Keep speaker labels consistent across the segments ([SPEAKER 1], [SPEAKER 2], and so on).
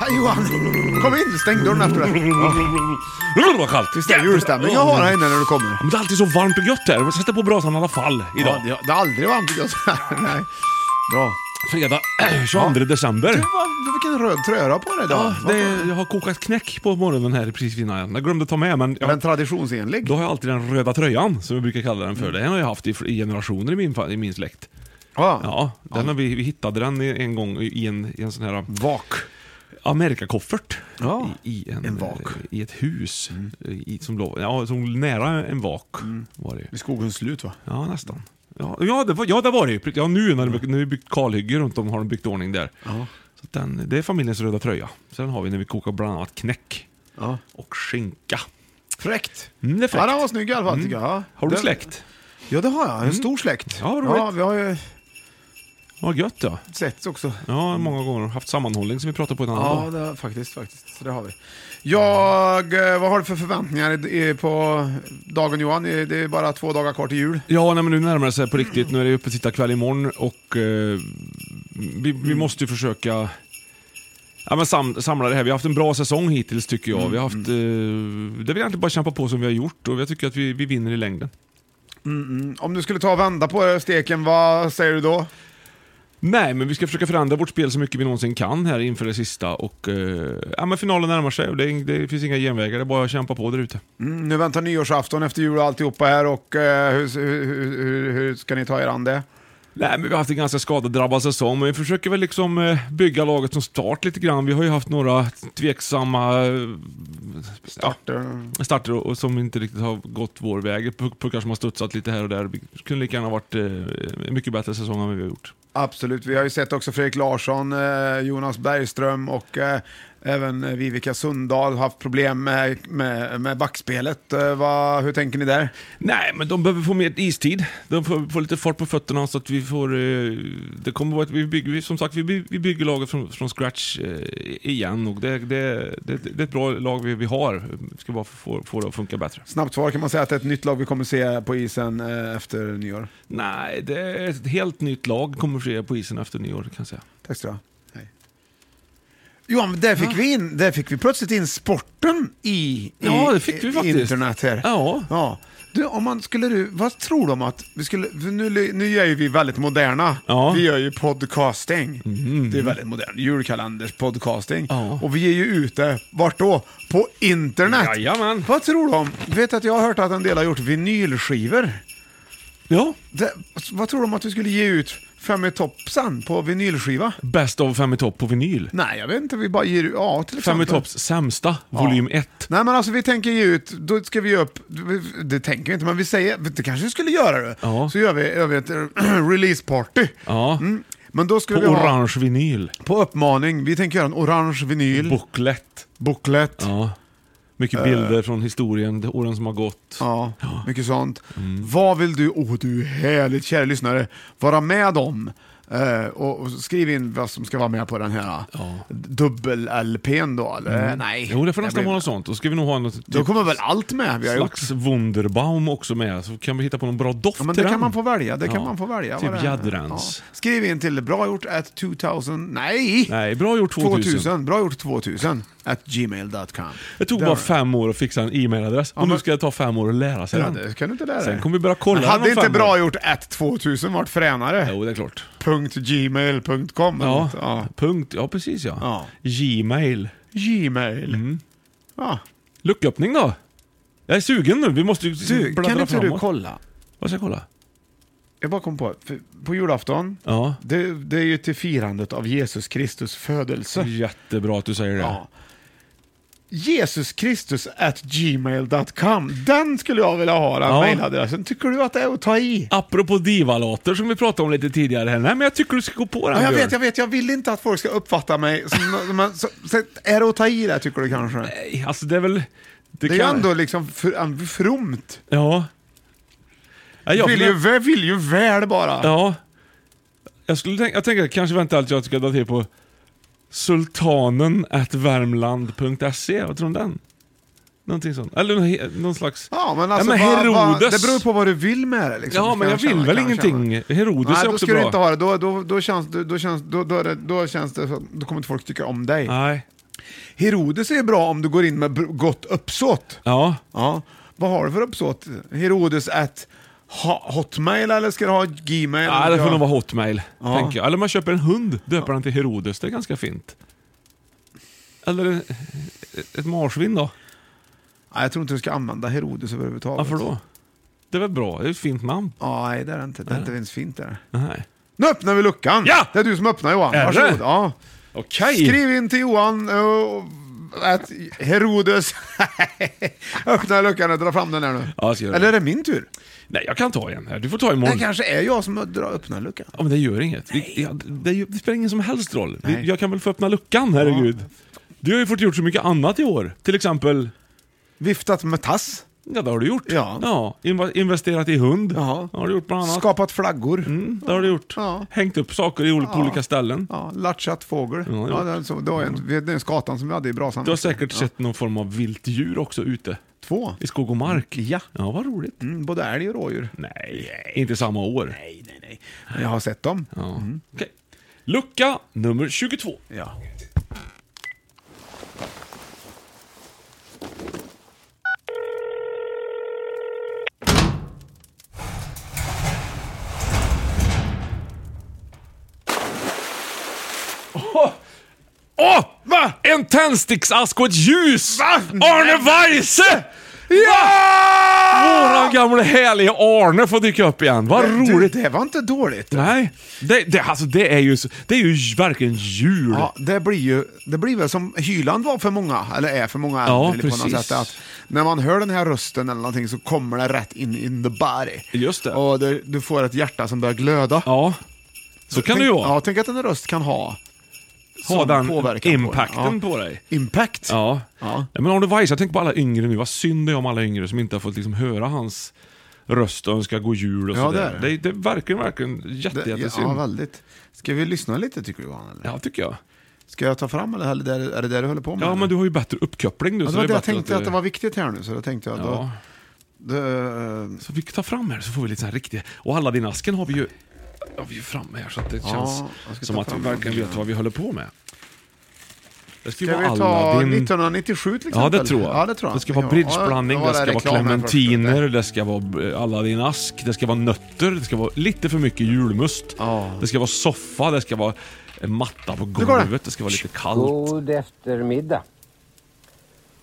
[SPEAKER 1] Hej Johan! Kom in, stäng dörren efter dig.
[SPEAKER 2] Brr, vad kallt!
[SPEAKER 1] Visst är det julstämning jag har här inne när du kommer?
[SPEAKER 2] Men det är alltid så varmt och gött här. Vi sätter på brasan i alla fall
[SPEAKER 1] Ja,
[SPEAKER 2] idag.
[SPEAKER 1] det, det har aldrig varit gött här. Nej. Bra.
[SPEAKER 2] Fredag 22
[SPEAKER 1] Du,
[SPEAKER 2] december.
[SPEAKER 1] vad, vilken röd tröja på dig idag.
[SPEAKER 2] Ja, det, jag har kokat knäck på morgonen här precis innan. Jag glömde ta med men...
[SPEAKER 1] Men
[SPEAKER 2] Jag,
[SPEAKER 1] traditionsenlig.
[SPEAKER 2] då har jag alltid den röda tröjan, som vi brukar kalla den för. Den har jag haft i, fl- i generationer i min, fa- i min släkt.
[SPEAKER 1] Ja.
[SPEAKER 2] Ja, den har vi, vi hittade den i- en gång i en, i en sån här um,
[SPEAKER 1] Vak.
[SPEAKER 2] Amerikakoffert.
[SPEAKER 1] Ja,
[SPEAKER 2] I, i en, eh,
[SPEAKER 1] en vak. Mm.
[SPEAKER 2] I ett hus. I, som låg, ja, som nära en vak var det ju.
[SPEAKER 1] Vid skogens slut va?
[SPEAKER 2] Ja, nästan. Ja, ja, det, var, ja det var det ju. Ja, nu när de när vi byggt kalhygge runt om har de byggt ordning där. Så att den, det är familjens röda tröja. Sen har vi när vi kokar bland annat knäck
[SPEAKER 1] Ja.
[SPEAKER 2] och skinka.
[SPEAKER 1] Fräckt.
[SPEAKER 2] Mm, det är
[SPEAKER 1] Ja,
[SPEAKER 2] fräckt. Mm.
[SPEAKER 1] den var snygg i alla fall tycker jag. Ja.
[SPEAKER 2] Har du
[SPEAKER 1] Det-
[SPEAKER 2] släkt? Mm.
[SPEAKER 1] Ja, det har jag. En stor släkt.
[SPEAKER 2] Ja, vad roligt.
[SPEAKER 1] ja, vi har ju
[SPEAKER 2] Vad gött ja.
[SPEAKER 1] setts också.
[SPEAKER 2] Ja, många gånger haft sammanhållning som vi pratade på en annan
[SPEAKER 1] Ja,
[SPEAKER 2] dag.
[SPEAKER 1] det har, faktiskt, faktiskt. Så det har vi. Jag, eh, vad har du för förväntningar i- i- på dagen Johan? Eh, Det är bara två dagar kvar till jul.
[SPEAKER 2] Ja, nej, men nu närmar det sig på riktigt. Nu är det uppe sitta kväll imorgon och eh, vi, vi måste ju försöka ja, men sam, samla det här. Vi har haft en bra säsong hittills tycker jag. Vi har haft, eh, det vill jag inte bara kämpa på som vi har gjort och jag tycker att vi, vi vinner i längden.
[SPEAKER 1] Om du skulle ta och vända på steken, vad säger du då?
[SPEAKER 2] Nej, men vi ska försöka förändra vårt spel så mycket vi någonsin kan här inför det sista. Och, eh, ja, men finalen närmar sig och det, är- det finns inga genvägar. Det är bara att kämpa på där ute.
[SPEAKER 1] Mm, nu väntar nyårsafton efter jul och alltihopa här och eh, hur, hur, hur, hur, hur ska ni ta er an det?
[SPEAKER 2] Nej, men vi har haft en ganska skadedrabbad säsong, men vi försöker väl liksom eh, bygga laget som start lite grann. Vi har ju haft några tveksamma eh, ja,
[SPEAKER 1] Det-
[SPEAKER 2] starter och, och som inte riktigt har gått vår väg. Puck- Puckar som har studsat lite här och där. Vi kunde lika gärna ha varit eh, en mycket bättre säsong än vad vi har gjort.
[SPEAKER 1] Absolut, vi har ju sett också Fredrik Larsson, eh, Jonas Bergström och eh, även eh, Vivica Sundahl haft problem med, med, med backspelet. Eh, vad, hur tänker ni där?
[SPEAKER 2] Nej, men de behöver få mer istid. De får, får lite fart på fötterna så att vi får... Eh, det kommer vara att vi bygger, vi, som sagt, vi, by- vi bygger laget från, från scratch eh, igen och det, det, det, det är ett bra lag vi, vi har. Vi ska bara få, få det att funka bättre.
[SPEAKER 1] Snabbt svar kan man säga att det är ett nytt lag vi kommer se på isen eh, efter nyår.
[SPEAKER 2] Nej, det är ett helt nytt lag kommer ske på isen efter nyår kan jag säga.
[SPEAKER 1] Tack ska du ha. Hej. Johan, men där fick, vi in, där fick vi plötsligt in sporten i, i
[SPEAKER 2] Ja, det fick vi
[SPEAKER 1] i
[SPEAKER 2] faktiskt.
[SPEAKER 1] internet här.
[SPEAKER 2] Ja.
[SPEAKER 1] ja. Du, om man skulle, du- vad tror du om att vi skulle, för nu, nu är ju vi väldigt moderna.
[SPEAKER 2] Ja. Mm.
[SPEAKER 1] Vi gör ju podcasting. Det är väldigt modernt. Julkalenders podcasting.
[SPEAKER 2] Ja.
[SPEAKER 1] Och vi är ju ute, vart då? På internet.
[SPEAKER 2] Jajamän.
[SPEAKER 1] Vad tror du om, vet att jag har hört att en del har gjort vinylskivor.
[SPEAKER 2] Ja,
[SPEAKER 1] Det, vad tror du om att vi skulle ge ut Fem i topp-sen på vinylskiva?
[SPEAKER 2] Best of Fem i topp på vinyl.
[SPEAKER 1] Nej, jag vet inte. Vi bara ger ut... Ja, till
[SPEAKER 2] Fem i
[SPEAKER 1] exempel.
[SPEAKER 2] topps sämsta, volym 1.
[SPEAKER 1] Nej, men alltså vi tänker ge ut... Då ska vi ge upp... Det tänker vi inte, men vi säger... Det kanske vi skulle göra det.
[SPEAKER 2] Ja.
[SPEAKER 1] Så gör vi, gör vi ett release party.
[SPEAKER 2] Ja.
[SPEAKER 1] Mm. Men då skulle
[SPEAKER 2] På
[SPEAKER 1] vi ha,
[SPEAKER 2] orange vinyl.
[SPEAKER 1] på uppmaning, vi tänker göra en orange vinyl.
[SPEAKER 2] Booklet.
[SPEAKER 1] booklet.
[SPEAKER 2] Ja. Mycket bilder från historien, de åren som har gått.
[SPEAKER 1] Eh. Ja, mycket sånt.
[SPEAKER 2] Mm.
[SPEAKER 1] Vad vill du, åh du härligt kära lyssnare, vara med om? Eh, och och skriv in vad som ska vara med på den här dubbel-LPn då, eller? Nej.
[SPEAKER 2] Mm. Jo, det får nästan
[SPEAKER 1] blir-
[SPEAKER 2] vara något sånt. Då ska vi nog ha något typ
[SPEAKER 1] Då kommer väl allt med vi har gjort?
[SPEAKER 2] slags Wunderbaum också med, så kan vi hitta på någon bra doft
[SPEAKER 1] Ja, men
[SPEAKER 2] till
[SPEAKER 1] det
[SPEAKER 2] den.
[SPEAKER 1] kan man få välja. Det kan
[SPEAKER 2] Ja,
[SPEAKER 1] man få välja.
[SPEAKER 2] Typ
[SPEAKER 1] vad det är.
[SPEAKER 2] Jadrans.
[SPEAKER 1] Ja. Skriv in till bra gjort at 2000, nej!
[SPEAKER 2] Nej, bra gjort 2000.
[SPEAKER 1] 2000, bra gjort 2000 at gmail.com.
[SPEAKER 2] Det tog
[SPEAKER 1] Där.
[SPEAKER 2] bara fem år att fixa en e-mailadress och nu
[SPEAKER 1] men-
[SPEAKER 2] ska det ta fem år att lära sig
[SPEAKER 1] Ja,
[SPEAKER 2] den.
[SPEAKER 1] det kan du inte lära dig.
[SPEAKER 2] Sen kommer vi börja kolla
[SPEAKER 1] Men
[SPEAKER 2] den om
[SPEAKER 1] Hade inte
[SPEAKER 2] fem
[SPEAKER 1] bra
[SPEAKER 2] år.
[SPEAKER 1] gjort at 2000 varit fränare?
[SPEAKER 2] Jo, det är klart.
[SPEAKER 1] Punkt .gmail.com. eller
[SPEAKER 2] Ja,
[SPEAKER 1] något. ja.
[SPEAKER 2] punkt. Ja, precis ja.
[SPEAKER 1] Ja.
[SPEAKER 2] Gmail.
[SPEAKER 1] Gmail.
[SPEAKER 2] Mm.
[SPEAKER 1] Ja.
[SPEAKER 2] Lucköppning då? Jag är sugen nu, vi måste ju
[SPEAKER 1] Du,
[SPEAKER 2] bläddra
[SPEAKER 1] kan inte
[SPEAKER 2] framåt.
[SPEAKER 1] du kolla?
[SPEAKER 2] Vad ska jag kolla?
[SPEAKER 1] Jag bara kom på, för på julafton,
[SPEAKER 2] Ja.
[SPEAKER 1] det, det är ju till firandet av Jesus Kristus födelse.
[SPEAKER 2] Jättebra att du säger det.
[SPEAKER 1] Ja. Jesus Kristus at gmail.com. Den skulle jag vilja ha, den
[SPEAKER 2] Ja.
[SPEAKER 1] mailadressen. Tycker du att det är att ta i?
[SPEAKER 2] Apropå divalater som vi pratade om lite tidigare här. Nej, men jag tycker du ska gå på den
[SPEAKER 1] Ja, jag
[SPEAKER 2] Björn.
[SPEAKER 1] vet, jag vet, jag vill inte att folk ska uppfatta mig som... men så, så, är det att ta i det, tycker du kanske?
[SPEAKER 2] Nej, Alltså det är väl...
[SPEAKER 1] det är ju ändå liksom fr, äm, fromt.
[SPEAKER 2] Ja. Ja, jag,
[SPEAKER 1] vill, ju, vä- vill ju väl bara.
[SPEAKER 2] Ja. Jag skulle tänka, jag tänker kanske vänta att jag ska dra till på sultanen.värmland.se. Vad tror du om den? Någonting sånt. Eller någon he- någon slags...
[SPEAKER 1] Ja, men alltså,
[SPEAKER 2] ja, men
[SPEAKER 1] vad- vad-
[SPEAKER 2] Herodes.
[SPEAKER 1] det beror på vad du vill med det. Liksom,
[SPEAKER 2] ja,
[SPEAKER 1] kan
[SPEAKER 2] men jag vill
[SPEAKER 1] känna,
[SPEAKER 2] väl
[SPEAKER 1] kan jag
[SPEAKER 2] ingenting.
[SPEAKER 1] känna.
[SPEAKER 2] Herodes
[SPEAKER 1] Nej,
[SPEAKER 2] är
[SPEAKER 1] då
[SPEAKER 2] också
[SPEAKER 1] ska du
[SPEAKER 2] bra.
[SPEAKER 1] inte ha det. Då, då, då, känns, då, då, känns, då, då, är det- då känns det som- Då kommer inte folk tycka om dig.
[SPEAKER 2] Nej.
[SPEAKER 1] Herodes är bra om du går in med br- gott uppsåt.
[SPEAKER 2] Ja.
[SPEAKER 1] Ja. Vad har du för uppsåt? Herodes at ho- hotmail eller ska du ha gmail?
[SPEAKER 2] Ja, det
[SPEAKER 1] Eller
[SPEAKER 2] får
[SPEAKER 1] ska-
[SPEAKER 2] nog vara Hotmail. Tänker jag. Eller man köper en hund, döper den till Herodes. Det är ganska fint. Eller eh, ett marsvin då?
[SPEAKER 1] Nej, jag tror inte du ska använda Herodes överhuvudtaget.
[SPEAKER 2] Varför då? Det är väl bra? Det är ett fint namn.
[SPEAKER 1] Ja, nej, det är det inte. Det är inte ens fint där.
[SPEAKER 2] Nej.
[SPEAKER 1] Nu öppnar vi luckan!
[SPEAKER 2] Ja!
[SPEAKER 1] Det är du som öppnar Johan.
[SPEAKER 2] Är det?
[SPEAKER 1] Varsågod. Ja.
[SPEAKER 2] Okej.
[SPEAKER 1] Skriv in till Johan uh, att Herodes... Öppna luckan och dra fram den här nu.
[SPEAKER 2] Ja, jag ska göra det.
[SPEAKER 1] Eller är det min tur?
[SPEAKER 2] Nej, jag kan ta en här. Du får ta
[SPEAKER 1] Det
[SPEAKER 2] imorgon.
[SPEAKER 1] kanske är jag som drar öppna luckan.
[SPEAKER 2] Ja, men det gör inget. Vi, ja, det, gör- det spelar ingen som helst roll. Vi, jag kan väl få öppna luckan, herregud. Du har ju fått gjort så mycket annat i år. Till exempel,
[SPEAKER 1] Viftat med tass.
[SPEAKER 2] ja det har du gjort.
[SPEAKER 1] Ja.
[SPEAKER 2] inva- investerat i hund.
[SPEAKER 1] Ja.
[SPEAKER 2] Det har du gjort bland annat.
[SPEAKER 1] Skapat flaggor.
[SPEAKER 2] Mm, det har du gjort.
[SPEAKER 1] Ja.
[SPEAKER 2] Hängt upp saker i ol- på olika ställen.
[SPEAKER 1] Ja, latchat fågel.
[SPEAKER 2] det har
[SPEAKER 1] Ja,
[SPEAKER 2] jag
[SPEAKER 1] den, så, det, var en, det är den skatan som vi hade i brasan.
[SPEAKER 2] Du har säkert sett någon form av vilt djur också ute.
[SPEAKER 1] Två.
[SPEAKER 2] I skog och mark.
[SPEAKER 1] Ja.
[SPEAKER 2] Ja, vad roligt.
[SPEAKER 1] Mm, både älg och rådjur.
[SPEAKER 2] Nej, inte samma år.
[SPEAKER 1] Nej, nej, nej. Men jag har sett dem.
[SPEAKER 2] Ja. Okej. Lucka nummer 22.
[SPEAKER 1] Ja.
[SPEAKER 2] Åh! Va? En tändsticksask och ett ljus! Va? Arne Weise!
[SPEAKER 1] Ja!
[SPEAKER 2] Våran gamle härlige Arne får dyka upp igen. Ah! Vad roligt!
[SPEAKER 1] Du, det var inte dåligt.
[SPEAKER 2] Nej, det, det, alltså det är ju, så- det är ju verkligen jul.
[SPEAKER 1] Ja, det blir ju, det blir väl som Hyland var för många, eller är för många
[SPEAKER 2] Ja,
[SPEAKER 1] äldre på något
[SPEAKER 2] precis.
[SPEAKER 1] sätt. Att när man hör den här rösten eller någonting så kommer det rätt in in the body.
[SPEAKER 2] Just det.
[SPEAKER 1] Och det, du får ett hjärta som börjar glöda.
[SPEAKER 2] Ja, så kan
[SPEAKER 1] tänk,
[SPEAKER 2] det ju vara.
[SPEAKER 1] Ja, tänk att en röst kan ha,
[SPEAKER 2] ha
[SPEAKER 1] sån
[SPEAKER 2] den
[SPEAKER 1] påverkan på
[SPEAKER 2] impacten
[SPEAKER 1] dig.
[SPEAKER 2] på dig.
[SPEAKER 1] Ja. Impact?
[SPEAKER 2] Ja.
[SPEAKER 1] Ja.
[SPEAKER 2] Men Arne Weise, jag tänker på alla yngre nu. Vad synd det är om alla yngre som inte har fått liksom höra hans röst och önska god jul och
[SPEAKER 1] Ja, det är
[SPEAKER 2] sådär.
[SPEAKER 1] det.
[SPEAKER 2] Det, är- det är verkligen, verkligen jätte,
[SPEAKER 1] Det,
[SPEAKER 2] jättesynd.
[SPEAKER 1] ja, väldigt. Ska vi lyssna lite tycker du Johan? Eller?
[SPEAKER 2] Ja, tycker jag.
[SPEAKER 1] Ska jag ta fram eller är det där, är det, där du håller på med?
[SPEAKER 2] Ja,
[SPEAKER 1] eller?
[SPEAKER 2] men du har ju bättre uppkoppling nu.
[SPEAKER 1] ja,
[SPEAKER 2] så
[SPEAKER 1] det var
[SPEAKER 2] är
[SPEAKER 1] det jag
[SPEAKER 2] bättre
[SPEAKER 1] tänkte att det var viktigt här nu, så då tänkte jag då, eh,
[SPEAKER 2] Ja.
[SPEAKER 1] det,
[SPEAKER 2] Så vi tar fram här så får vi lite sån här riktig... Och alla din asken har vi ju har vi ju framme här så att det känns
[SPEAKER 1] jag ska
[SPEAKER 2] som
[SPEAKER 1] ta
[SPEAKER 2] att vi
[SPEAKER 1] fram
[SPEAKER 2] verkligen
[SPEAKER 1] den.
[SPEAKER 2] vet vad vi håller på med. Det ska ju
[SPEAKER 1] Ska
[SPEAKER 2] vara
[SPEAKER 1] vi ta
[SPEAKER 2] Aladdin.
[SPEAKER 1] 1997 till exempel?
[SPEAKER 2] Ja det tror jag.
[SPEAKER 1] Ja, det, tror jag.
[SPEAKER 2] det ska vara bridgeblandning,
[SPEAKER 1] Ja,
[SPEAKER 2] det ska vara
[SPEAKER 1] reklamen först,
[SPEAKER 2] clementiner,
[SPEAKER 1] vet
[SPEAKER 2] det ska vara eh, Aladdin ask, det ska vara nötter, det ska vara lite för mycket julmust. Det ska vara soffa, det ska vara en matta på
[SPEAKER 1] går det.
[SPEAKER 2] golvet, det ska vara lite kallt.
[SPEAKER 3] God eftermiddag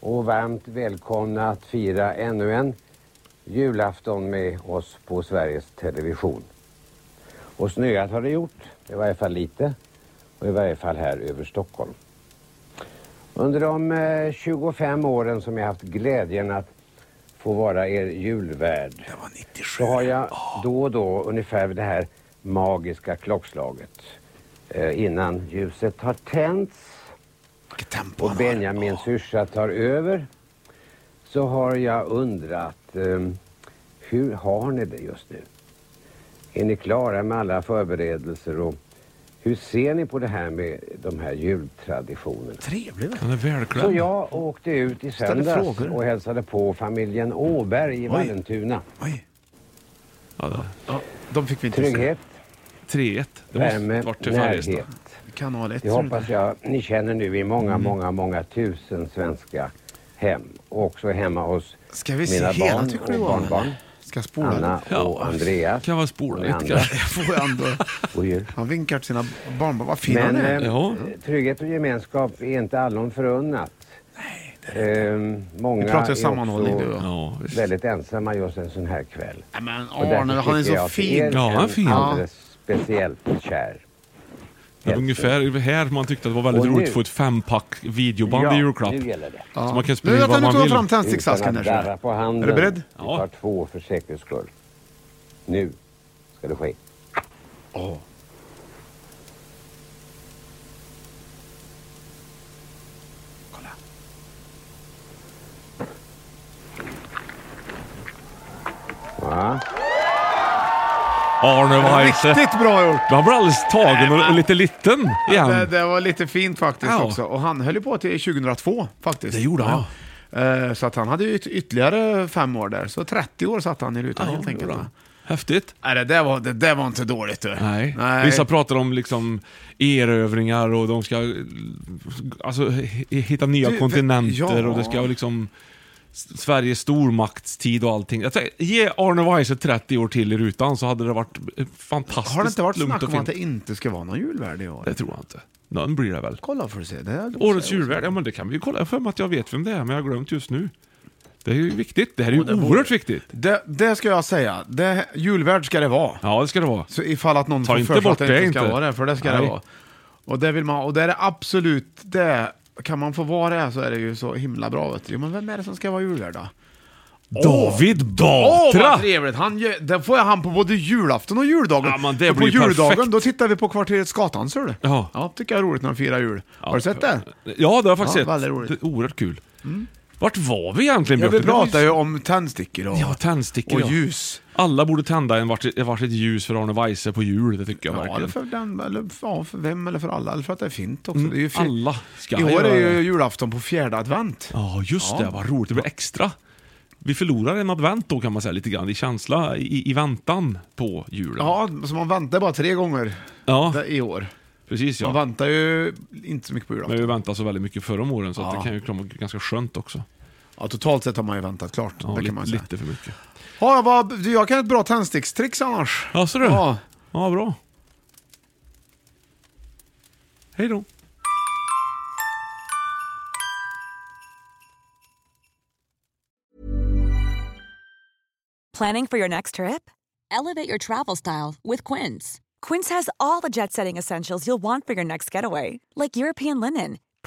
[SPEAKER 3] och varmt välkomna att fira ännu en julafton med oss på Sveriges Television. Och snöat har det gjort, i varje fall lite, och i varje fall här över Stockholm. Under de eh, 25 åren som jag haft glädjen att få vara er julvärd så har jag då och då ungefär vid det här magiska klockslaget eh, innan ljuset har tänts
[SPEAKER 1] Vilket tempo
[SPEAKER 3] och
[SPEAKER 1] han har.
[SPEAKER 3] Benjamin syrsa tar över så har jag undrat eh, hur har ni det just nu? Är ni klara med alla förberedelser och hur ser ni på det här med de här jultraditionerna?
[SPEAKER 1] Trevlig
[SPEAKER 2] Han är välklädd.
[SPEAKER 3] Så jag åkte ut i
[SPEAKER 1] Ställer
[SPEAKER 3] söndags
[SPEAKER 1] frågor.
[SPEAKER 3] och hälsade på familjen Åberg i
[SPEAKER 1] Oj.
[SPEAKER 3] Vallentuna.
[SPEAKER 1] Oj.
[SPEAKER 2] Ja, det-
[SPEAKER 1] Ja, de fick vi inte
[SPEAKER 3] Trygghet,
[SPEAKER 2] 3-1. Det
[SPEAKER 3] värme,
[SPEAKER 2] måste varit till
[SPEAKER 3] närhet.
[SPEAKER 2] Färjestad.
[SPEAKER 1] Kanal 1.
[SPEAKER 3] Det hoppas jag ni känner nu i många,
[SPEAKER 2] Mm.
[SPEAKER 3] många, många tusen svenska hem. Och också hemma hos
[SPEAKER 1] Ska vi se
[SPEAKER 3] mina
[SPEAKER 1] hela
[SPEAKER 3] barn
[SPEAKER 1] tycker du
[SPEAKER 3] och
[SPEAKER 1] var?
[SPEAKER 3] barnbarnbarn.
[SPEAKER 1] Ska jag spola?
[SPEAKER 3] Anna och
[SPEAKER 2] Ja,
[SPEAKER 3] Andreas.
[SPEAKER 2] kan vara spola
[SPEAKER 3] och
[SPEAKER 2] lite
[SPEAKER 3] andra.
[SPEAKER 2] kanske.
[SPEAKER 1] Jag får ändå...
[SPEAKER 3] Och djur.
[SPEAKER 1] Han vinkar till sina barnbarn. Vad fin
[SPEAKER 3] Men
[SPEAKER 1] han är.
[SPEAKER 3] eh,
[SPEAKER 2] Ja.
[SPEAKER 3] trygghet och gemenskap är inte allon förunnat. Ehm, många
[SPEAKER 1] Vi pratar ju
[SPEAKER 3] är
[SPEAKER 1] sammanhållning
[SPEAKER 3] också
[SPEAKER 1] nu, va?
[SPEAKER 2] Ja, visst.
[SPEAKER 3] väldigt ensamma just en sån här kväll.
[SPEAKER 1] Nej, men
[SPEAKER 3] Och därför
[SPEAKER 1] Arne, han är
[SPEAKER 3] tycker jag
[SPEAKER 1] så
[SPEAKER 3] att det
[SPEAKER 1] fin.
[SPEAKER 2] Ja, han är
[SPEAKER 3] en
[SPEAKER 2] fin.
[SPEAKER 3] Alldeles speciellt kär.
[SPEAKER 2] Det var ungefär här man tyckte att det var väldigt
[SPEAKER 3] Och
[SPEAKER 2] roligt
[SPEAKER 3] nu-
[SPEAKER 2] att få ett fempack videoband i julklapp.
[SPEAKER 3] nu gäller det.
[SPEAKER 2] Så man kan
[SPEAKER 1] Nu
[SPEAKER 2] sprida
[SPEAKER 1] vet
[SPEAKER 2] vad
[SPEAKER 1] han, nu
[SPEAKER 2] man
[SPEAKER 1] tar
[SPEAKER 2] vill.
[SPEAKER 1] fram tändsticksasken
[SPEAKER 3] Utan
[SPEAKER 1] där.
[SPEAKER 3] att
[SPEAKER 1] så.
[SPEAKER 3] darra på handen.
[SPEAKER 1] Är du beredd?
[SPEAKER 3] Vi
[SPEAKER 2] Ja.
[SPEAKER 3] tar två för säkerhets skull. Nu ska det ske.
[SPEAKER 1] Kolla.
[SPEAKER 3] Va?
[SPEAKER 2] Arne Weise.
[SPEAKER 1] Riktigt bra gjort!
[SPEAKER 2] Han blev alldeles tagen och, och lite liten
[SPEAKER 1] Det,
[SPEAKER 2] igen.
[SPEAKER 1] det var lite fint faktiskt
[SPEAKER 2] Ja.
[SPEAKER 1] också. Och han höll ju på till 2002 faktiskt.
[SPEAKER 2] Det gjorde han.
[SPEAKER 1] Eh, Så att han hade ju yt- ytterligare fem år där. Så 30 år satt han i rutan helt
[SPEAKER 2] det
[SPEAKER 1] enkelt.
[SPEAKER 2] gjorde han. Häftigt.
[SPEAKER 1] Nej, det där var, det där var inte dåligt du.
[SPEAKER 2] Nej. Vissa pratar om liksom erövringar och de ska alltså, h- hitta nya
[SPEAKER 1] Du, ve-
[SPEAKER 2] kontinenter
[SPEAKER 1] ja.
[SPEAKER 2] och det ska liksom S- Sveriges stormaktstid och allting. Jag säger, ge Arne Weise 30 år till i rutan så hade det varit eh, fantastiskt
[SPEAKER 1] Har det inte varit
[SPEAKER 2] lugnt
[SPEAKER 1] snack
[SPEAKER 2] och
[SPEAKER 1] om att
[SPEAKER 2] fint.
[SPEAKER 1] det inte ska vara någon julvärd i år?
[SPEAKER 2] Det tror jag inte. Någon blir det väl.
[SPEAKER 1] Kolla får du se. Det är-
[SPEAKER 2] Årets julvärd, ja men det kan vi ju kolla. Jag har för mig att jag vet vem det är, men jag har glömt just nu. Det är ju viktigt. Det här är ju oerhört viktigt.
[SPEAKER 1] Det, det ska jag säga. Det, julvärd ska det vara.
[SPEAKER 2] Ja, det ska det vara.
[SPEAKER 1] Så ifall att någon
[SPEAKER 2] Ta
[SPEAKER 1] får
[SPEAKER 2] inte
[SPEAKER 1] för sig att
[SPEAKER 2] bort
[SPEAKER 1] det
[SPEAKER 2] det,
[SPEAKER 1] inte ska
[SPEAKER 2] inte.
[SPEAKER 1] vara det, för det ska det
[SPEAKER 2] Nej.
[SPEAKER 1] vara. Och det vill man och det är det absolut det. Kan man få vara det så är det ju så himla bra vet du. Jo, men vem är det som ska vara julvärd då?
[SPEAKER 2] David
[SPEAKER 1] Åh vad
[SPEAKER 2] Batra!
[SPEAKER 1] trevligt! Han, gör- där får jag han på både julafton och juldagen.
[SPEAKER 2] Ja, men det
[SPEAKER 1] För
[SPEAKER 2] blir
[SPEAKER 1] på juldagen,
[SPEAKER 2] perfekt.
[SPEAKER 1] då tittar vi på Kvarterets Gatan ser du.
[SPEAKER 2] Ja.
[SPEAKER 1] ja, tycker jag är roligt när de firar jul. Har du sett det?
[SPEAKER 2] Ja, det har jag faktiskt
[SPEAKER 1] Ja,
[SPEAKER 2] sett.
[SPEAKER 1] väldigt roligt. Mm.
[SPEAKER 2] Det är oerhört kul. Vart var vi egentligen,
[SPEAKER 1] Ja, vi
[SPEAKER 2] Björte? Det var
[SPEAKER 1] pratar ju om tändstickor och,
[SPEAKER 2] Ja, tändstickor
[SPEAKER 1] och
[SPEAKER 2] ja.
[SPEAKER 1] ljus.
[SPEAKER 2] Alla borde tända en varsitt, varsitt ljus för Arne Weise på jul, det tycker jag
[SPEAKER 1] Ja, eller
[SPEAKER 2] verkligen.
[SPEAKER 1] för, den, eller, ja, för vem eller för alla, eller för att det är fint också.
[SPEAKER 2] Mm,
[SPEAKER 1] Det är ju fi-
[SPEAKER 2] alla ska
[SPEAKER 1] I år
[SPEAKER 2] göra
[SPEAKER 1] är ju
[SPEAKER 2] det.
[SPEAKER 1] julafton på fjärde advent.
[SPEAKER 2] Ja, just
[SPEAKER 1] Ja.
[SPEAKER 2] det. Vad roligt. Det blir extra. Vi förlorar en advent då kan man säga lite grann i känsla, i, i väntan på julen.
[SPEAKER 1] Ja, så man väntar bara tre gånger
[SPEAKER 2] Ja,
[SPEAKER 1] där i år.
[SPEAKER 2] precis
[SPEAKER 1] Man
[SPEAKER 2] ja.
[SPEAKER 1] väntar ju inte så mycket på
[SPEAKER 2] Men
[SPEAKER 1] julafton.
[SPEAKER 2] vi väntade så väldigt mycket förra om åren så att
[SPEAKER 1] Ja.
[SPEAKER 2] det kan ju komma ganska skönt också.
[SPEAKER 1] Ja, totalt sett har man ju väntat klart.
[SPEAKER 2] Ja,
[SPEAKER 1] det
[SPEAKER 2] lite,
[SPEAKER 1] kan man säga.
[SPEAKER 2] lite för mycket.
[SPEAKER 1] Ja, vad, jag kan ett bra tändstickstrix annars.
[SPEAKER 2] Ja, så du?
[SPEAKER 1] Ja.
[SPEAKER 2] Ja. ja, bra. Hej då.
[SPEAKER 4] Planning for your next trip? Elevate your travel style with Quince. Quince has all the jet setting essentials you'll want for your next getaway, like European linen,